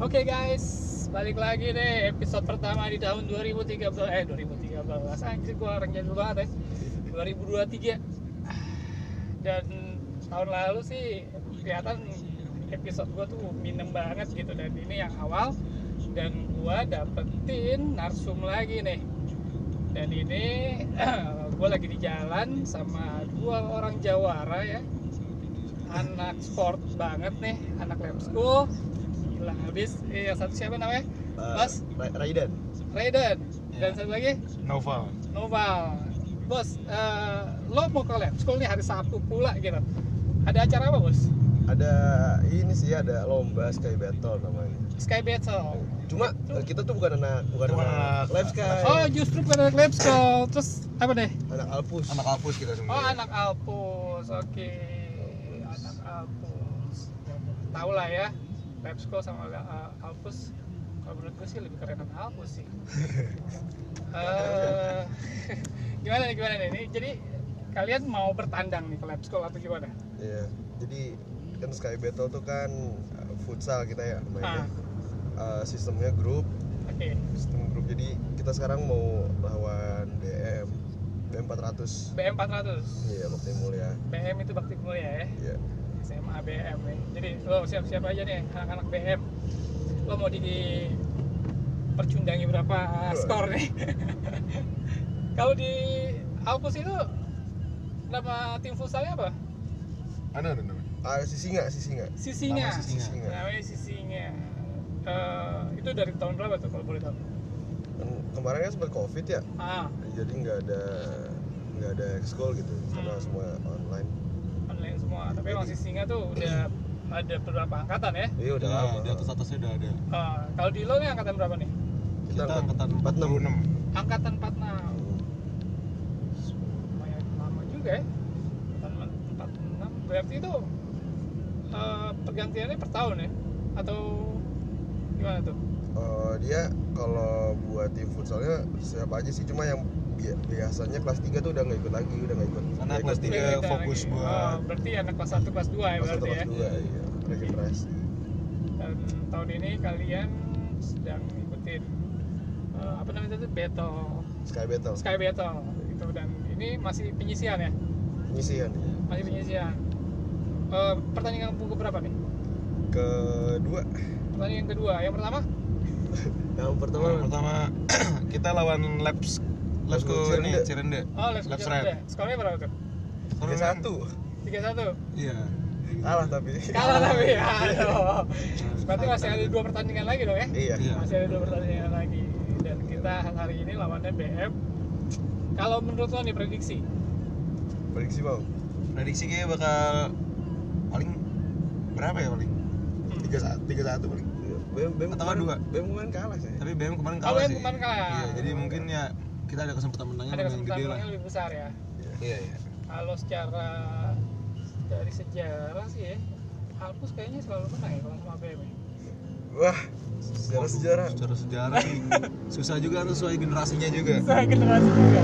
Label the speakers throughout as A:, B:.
A: Oke guys, balik lagi deh episode pertama di tahun 2013 eh 2013 anjir gua orang jadul banget ya. 2023. Dan tahun lalu sih kelihatan episode gua tuh minem banget gitu dan ini yang awal dan gua dapetin narsum lagi nih. Dan ini gua lagi di jalan sama dua orang Jawara ya. Anak sport banget nih, anak lab school gila habis eh, yang satu siapa namanya
B: Uh,
A: Mas?
B: Ra- Raiden.
A: Raiden dan satu lagi
C: Novel.
A: Noval bos eh, lo mau ke lab school nih hari Sabtu pula gitu ada acara apa bos
B: Ada ini sih ada lomba sky battle namanya.
A: Sky Battle
B: Cuma eh, kita tuh bukan anak bukan
C: Bukan
B: anak
C: anak-
B: live sky,
A: oh justru bukan anak lab school terus apa deh
B: anak alpus.
C: Anak kampus kita semua.
A: oh anak Alpus oke anak Alpus tau lah ya lab school sama eh, Alpus kalau menurut gue sih lebih kerenan Alpus sih Eh, gimana nih gimana nih ini jadi kalian mau bertandang nih ke lab school atau gimana?
B: Iya. Jadi kan sky battle tuh kan eh, futsal kita ya mainnya.
A: Ah,
B: Eh, sistemnya grup,
A: oke.
B: sistem grup. Jadi kita sekarang mau lawan DM DM 400.
A: BM 400.
B: Iya, Bakti Mulia.
A: BM itu bakti mulia ya.
B: Iya.
A: SMA BM ya. Jadi lo siap-siap aja nih anak-anak BM. Lo mau di, di- percundangi berapa eh, skor nih? Kalau di Alpus itu nama tim futsalnya apa?
C: Ada ada namanya.
B: Ah, si singa, si singa.
A: Sisinya.
B: Si
C: Nama Sisinya.
B: singa.
A: Namanya Sisinya. Eh, itu dari tahun berapa tuh kalau boleh tahu?
B: Kan kemarin kan sempat covid ya,
A: Ah,
B: jadi nggak ada nggak ada ekskul gitu karena
A: Hmm.
B: semua online.
A: online semua. Tapi emang Sisinya tuh udah ada beberapa angkatan ya.
B: Iya udah
C: Nah,
B: lama.
C: di atas atasnya udah ada.
A: Eh, kalau di lo nih angkatan berapa nih?
B: Kita
C: Kita angkatan
B: 46.
C: 46.
A: angkatan 46 lumayan lama juga ya angkatan 46 berarti itu eh, pergantiannya per tahun ya atau gimana tuh
B: Eh, dia kalau buat tim futsalnya siapa aja sih cuma yang bi- biasanya kelas 3 tuh udah nggak ikut lagi udah nggak ikut
C: Karena
B: nggak
C: kelas
B: ikut
C: tiga
B: tim.
A: Beda-beda
C: fokus
A: lagi.
C: buat-
A: Oh, berarti anak kelas 1 kelas 2 ya
B: eh, kelas satu
A: berarti
B: kelas
A: ya
B: dua iya regenerasi
A: dan tahun ini kalian sedang ngikutin eh, apa namanya itu battle
B: sky battle
A: sky battle gitu dan ini masih penyisian ya
B: penyisihan
A: masih penyisian Eh, pertandingan berapa nih
B: kedua
A: pertandingan kedua yang pertama
B: yang pertama
C: Yang pertama kita lawan Labs Labsku ini
B: Cirende.
C: Cirende.
A: oh left
C: Left
A: Jakarta.
C: right.
A: skornya berapa tuh
C: Sorry,
B: yang
C: Bang.
B: satu
A: tiga satu
C: kan? Iya.
B: kalah tapi
A: kalah tapi aduh berarti masih ada dua pertandingan lagi dong ya
B: iya
C: Iya.
A: masih ada dua pertandingan lagi dan kita hari ini lawannya BM kalau menurut lo nih prediksi
B: prediksi mau
C: Prediksi kayaknya bakal paling berapa ya paling? 3 1 paling.
B: Iya. bem bem
C: Atau dua?
B: bem kemarin kalah sih
C: Tapi BM kemarin
A: kalau
C: kalah
A: yang
C: sih.
A: Oh, kemarin kalah
C: Iya, jadi mungkin ya kita ada kesempatan menangnya
A: ada
C: lumayan
A: kesempatan
C: gede lah.
A: menangnya lebih besar ya
C: Iya, iya.
A: kalau secara dari sejarah sih ya Alpus kayaknya selalu menang ya kalau sama BM ya.
B: wah sejarah
C: Waduh,
B: sejarah
C: Secara sejarah nih. susah juga harus sesuai generasinya juga.
B: Iya.
A: Saya generasi juga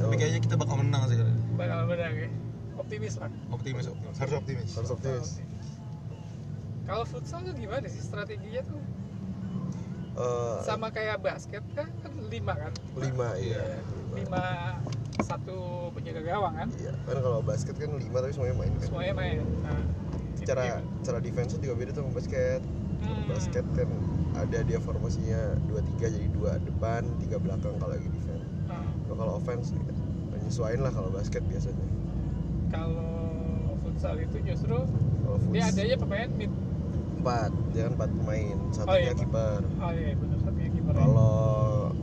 C: Tapi kayaknya kita bakal menang sih.
A: bakal menang ya optimis lah
C: Optimis, optimis. Harus optimis.
B: harus optimis
A: kalau futsal tuh gimana sih strateginya tuh
B: Eh,
A: sama kayak basket kan kan lima kan
B: lima iya lima
A: lima satu penjaga gawang kan
B: iya kan kalau basket kan lima tapi semuanya main kan
A: semuanya main nah,
B: cara cara defense juga beda tuh sama basket
A: Hmm.
B: basket kan ada dia formasinya dua tiga jadi dua depan tiga belakang kalau lagi defense
A: Nah,
B: Nah, kalau offense ya, nyesuain lah kalau basket biasanya
A: kalau futsal itu justru
B: kalau
A: dia
B: futs
A: adanya pemain mid
B: empat dia kan empat pemain
A: Oh,
B: satunya
A: iya, Pak.
B: kiper
A: oh iya benar satunya kiper ya.
B: kalau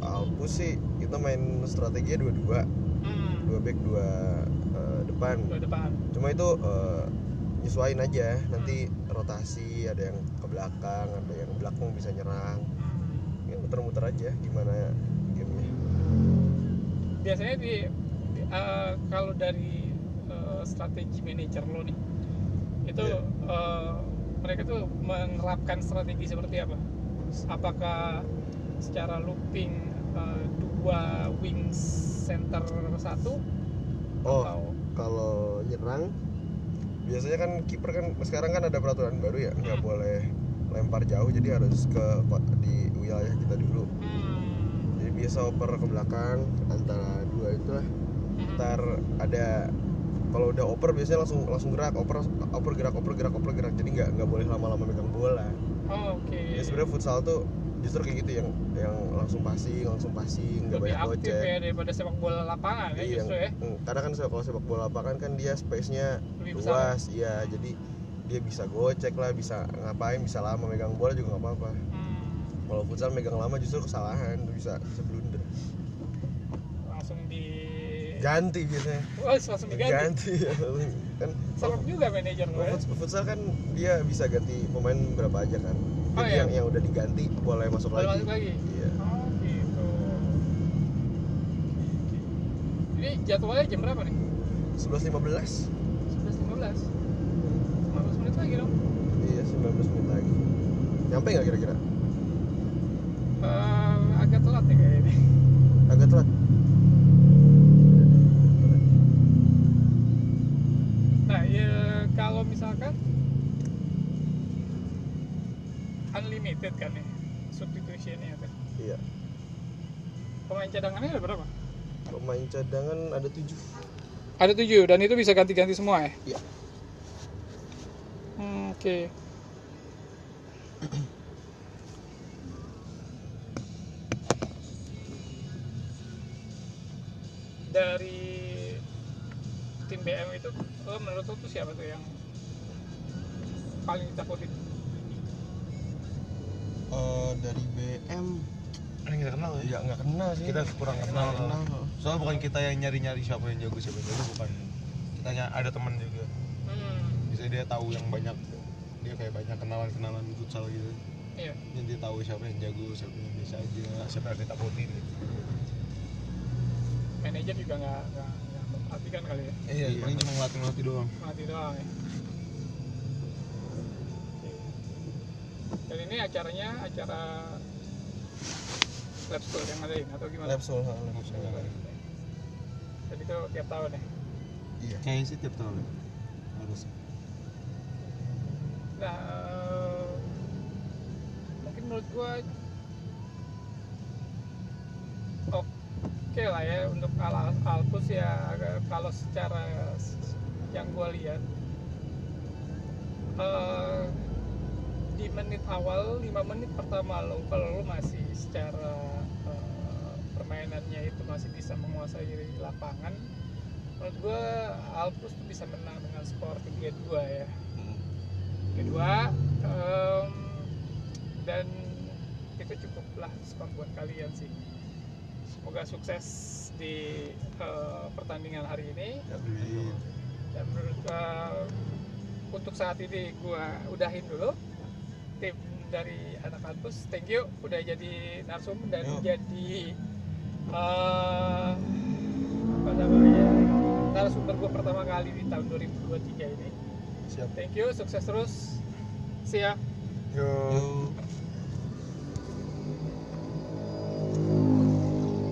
B: Alpus sih kita main strateginya dua dua
A: hmm,
B: dua back dua eh, depan
A: dua depan
B: cuma itu eh, nyesuain aja nanti rotasi ada yang ke belakang ada yang belakang bisa nyerang
A: Hmm.
B: ya muter-muter aja gimana gamenya
A: biasanya di, di- eh, kalau dari eh, strategi manajer lo nih itu
B: Iya.
A: eh, mereka tuh menerapkan strategi seperti apa apakah secara looping eh, dua wing center satu
B: oh
A: atau
B: kalau nyerang biasanya kan kiper kan sekarang kan ada peraturan baru ya nggak
A: Hmm.
B: boleh lempar jauh jadi harus ke ko- di wilayah kita dulu
A: Hmm.
B: jadi biasa oper ke belakang antara dua itulah ntar ada kalau udah oper biasanya langsung langsung gerak oper oper gerak oper gerak oper gerak jadi nggak nggak boleh lama-lama megang bola
A: Oh, Oke.
B: ya sebenarnya futsal tuh justru kayak gitu yang yang langsung passing langsung passing nggak
A: lebih
B: banyak
A: aktif
B: gocek
A: ya daripada sepak bola lapangan ya
B: Iya,
A: justru ya.
B: mm, karena kan se- kalau sepak bola lapangan kan dia space-nya
A: Lebih besar.
B: luas, iya jadi dia bisa gocek lah, bisa ngapain, bisa lama megang bola juga nggak apa-apa.
A: Hmm,
B: Kalau futsal megang lama justru kesalahan, tuh bisa bisa blunder.
A: langsung di
B: Ganti biasanya.
A: Oh, langsung diganti.
B: kan
A: Serem juga manajer ya.
B: kalau
A: gue.
B: futs- futsal kan dia bisa ganti pemain berapa aja kan.
A: Oh,
B: Jadi
A: iya.
B: yang yang udah diganti boleh masuk
A: Boleh masuk
B: lagi.
A: lagi.
B: Iya.
A: Oh, gitu. Jadi jadwalnya jam berapa nih?
B: 11.15.
A: 11.15. 15 menit lagi dong.
B: Iya, 19 menit lagi. Nyampe nggak kira-kira?
A: Eh, agak telat ya kayaknya ini.
B: agak telat
A: Nah, ya kalau misalkan unlimited kan ya substitutionnya kan.
B: iya
A: Pemain cadangannya ada berapa?
B: pemain cadangan ada tujuh
A: Ada tujuh dan itu bisa ganti-ganti semua ya?
B: Iya.
A: Hmm, Oke. Dari tim BM itu, lo menurut lo tuh siapa tuh yang paling ditakutin?
C: Eh, dari BM ada yang kita kenal ya
B: nggak kenal sih
C: kita kurang kenal, soalnya bukan kita yang nyari nyari siapa yang jago siapa yang jago bukan kitanya ada teman juga
A: Hmm,
C: bisa dia tahu yang banyak dia kayak banyak kenalan kenalan futsal gitu
A: iya.
C: jadi dia tahu siapa yang jago siapa yang biasa aja siapa yang ditakutin
A: Manajer juga nggak nggak nggak memperhatikan kali ya.
C: iya paling cuma ngelatih ngelatih doang
A: mati doang ya. Dan ini acaranya acara lab school yang ngadain atau gimana?
B: Lepsol
A: Jadi itu tiap tahun ya.
B: iya
C: kayaknya sih tiap tahun ya. harus
A: Nah, eh, mungkin menurut gua oke lah ya untuk al Alpus ya agak- kalau secara s- yang gua lihat eh, di menit awal 5 menit pertama lo kalau lo masih secara eh, permainannya itu masih bisa menguasai lapangan menurut gua Alpus tuh bisa menang dengan skor 3-2 ya kedua em, dan itu cukuplah skor buat kalian sih semoga sukses di eh, pertandingan hari ini
C: Amin.
A: dan menurut eh, untuk saat ini gua udahin dulu tim dari anak kampus thank you udah jadi narsum dan
C: Yuk.
A: jadi eh, apa namanya narasumber gua pertama kali di tahun 2023 ini
C: siap
A: ya. thank you sukses terus siap
C: yo